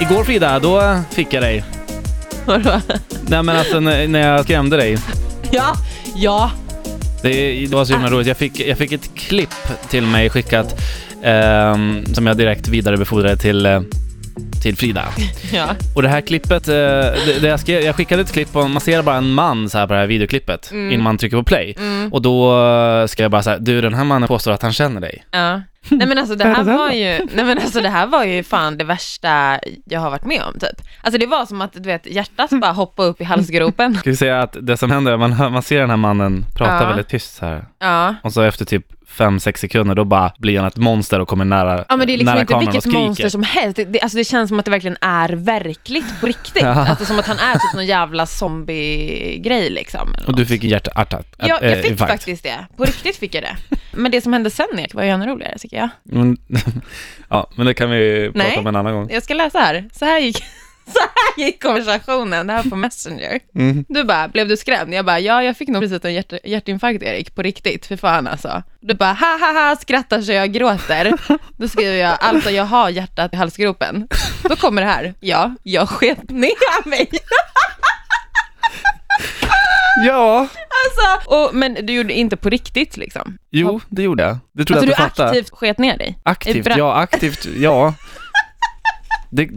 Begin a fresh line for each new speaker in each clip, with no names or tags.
Igår Frida, då fick jag dig.
Vadå?
Nej men alltså när när jag skrämde dig.
Ja, ja.
Det, det var så himla
Ah.
roligt. Jag fick, jag fick ett klipp till mig skickat ehm, som jag direkt vidarebefordrade till, eh, till Frida.
ja.
Och det här klippet, eh, det, det jag, skrev, jag skickade ett klipp och man ser bara en man så här på det här videoklippet
Mm.
innan man trycker på play.
Mm,
Och då eh, skrev jag bara så här, du den här mannen påstår att han känner dig.
ja. Nej men alltså det här var ju, nej men alltså det här var ju fan det värsta jag har varit med om typ. Alltså det var som att du vet hjärtat bara hoppade upp i halsgropen.
Ska vi säga att det som händer, man, hör- man ser den här mannen prata
Ja.
väldigt tyst så här.
Ja.
Och så efter typ 5-6 sekunder då bara blir han ett monster och kommer nära
Ja men det är liksom
nära
inte
kameran och
vilket
skriker.
monster som helst. Det, det, alltså det känns som att det verkligen är verkligt på riktigt.
Ja.
Alltså som att han är typ någon jävla zombie-grej liksom. eller
Och du
något.
fick en hjärtattack.
Ja,
eh,
jag fick
infarkt.
faktiskt det. På riktigt fick jag det. Men det som hände sen Erik var ju ännu roligare tycker jag.
Men, ja, men det kan vi prata
Nej.
om en annan gång.
Jag ska läsa här. Så här gick, så här gick konversationen, det här på Messenger.
Mm.
Du bara, blev du skrämd? Jag bara, ja jag fick nog precis en hjärt, hjärtinfarkt Erik, på riktigt, för fan alltså. Du bara, ha ha ha, skrattar så jag gråter. Då skriver jag, alltså jag har hjärtat i halsgropen. Då kommer det här, ja, jag sket ner mig.
Ja,
Alltså, och, men du gjorde inte på riktigt liksom.
jo, det gjorde jag. Det trodde
Alltså
jag
du
att du fattade.
aktivt sket ner dig.
Aktivt,
Bra.
ja, aktivt, ja. Det,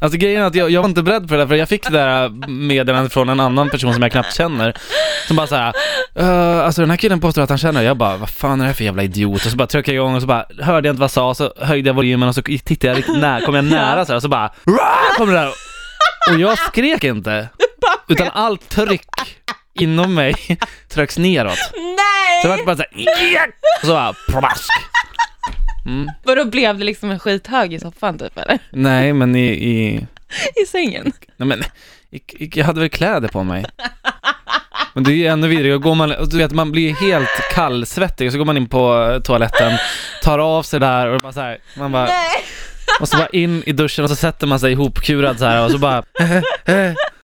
alltså grejen är att jag, jag var inte beredd på det där, för jag fick det där meddelandet från en annan person som jag knappt känner, som bara såhär, uh, alltså den här killen påstår att han känner, jag bara, vad fan är det här för jävla idiot? Och så bara tryckte jag igång och så bara, hörde jag inte vad jag sa, så höjde jag volymen och så tittade jag riktigt nära, kom jag nära så här, och så bara, "Rah!" kom det där. Och jag skrek inte, utan allt tryck inom mig trycks neråt. Så det
Nej!
vart bara såhär, och så bara, plask. Mm.
För då blev det liksom en skithög i soffan typ eller?
Nej, men i, i,
I sängen.
nej men, i, i, jag hade väl kläder på mig. Men det är ju ännu vidrigare, går man, och du vet man blir helt kallsvettig och så går man in på eh, toaletten, tar av sig där och bara så här, man bara,
Nej!
eh, och så bara in i duschen och så sätter man sig ihopkurad så här och så bara,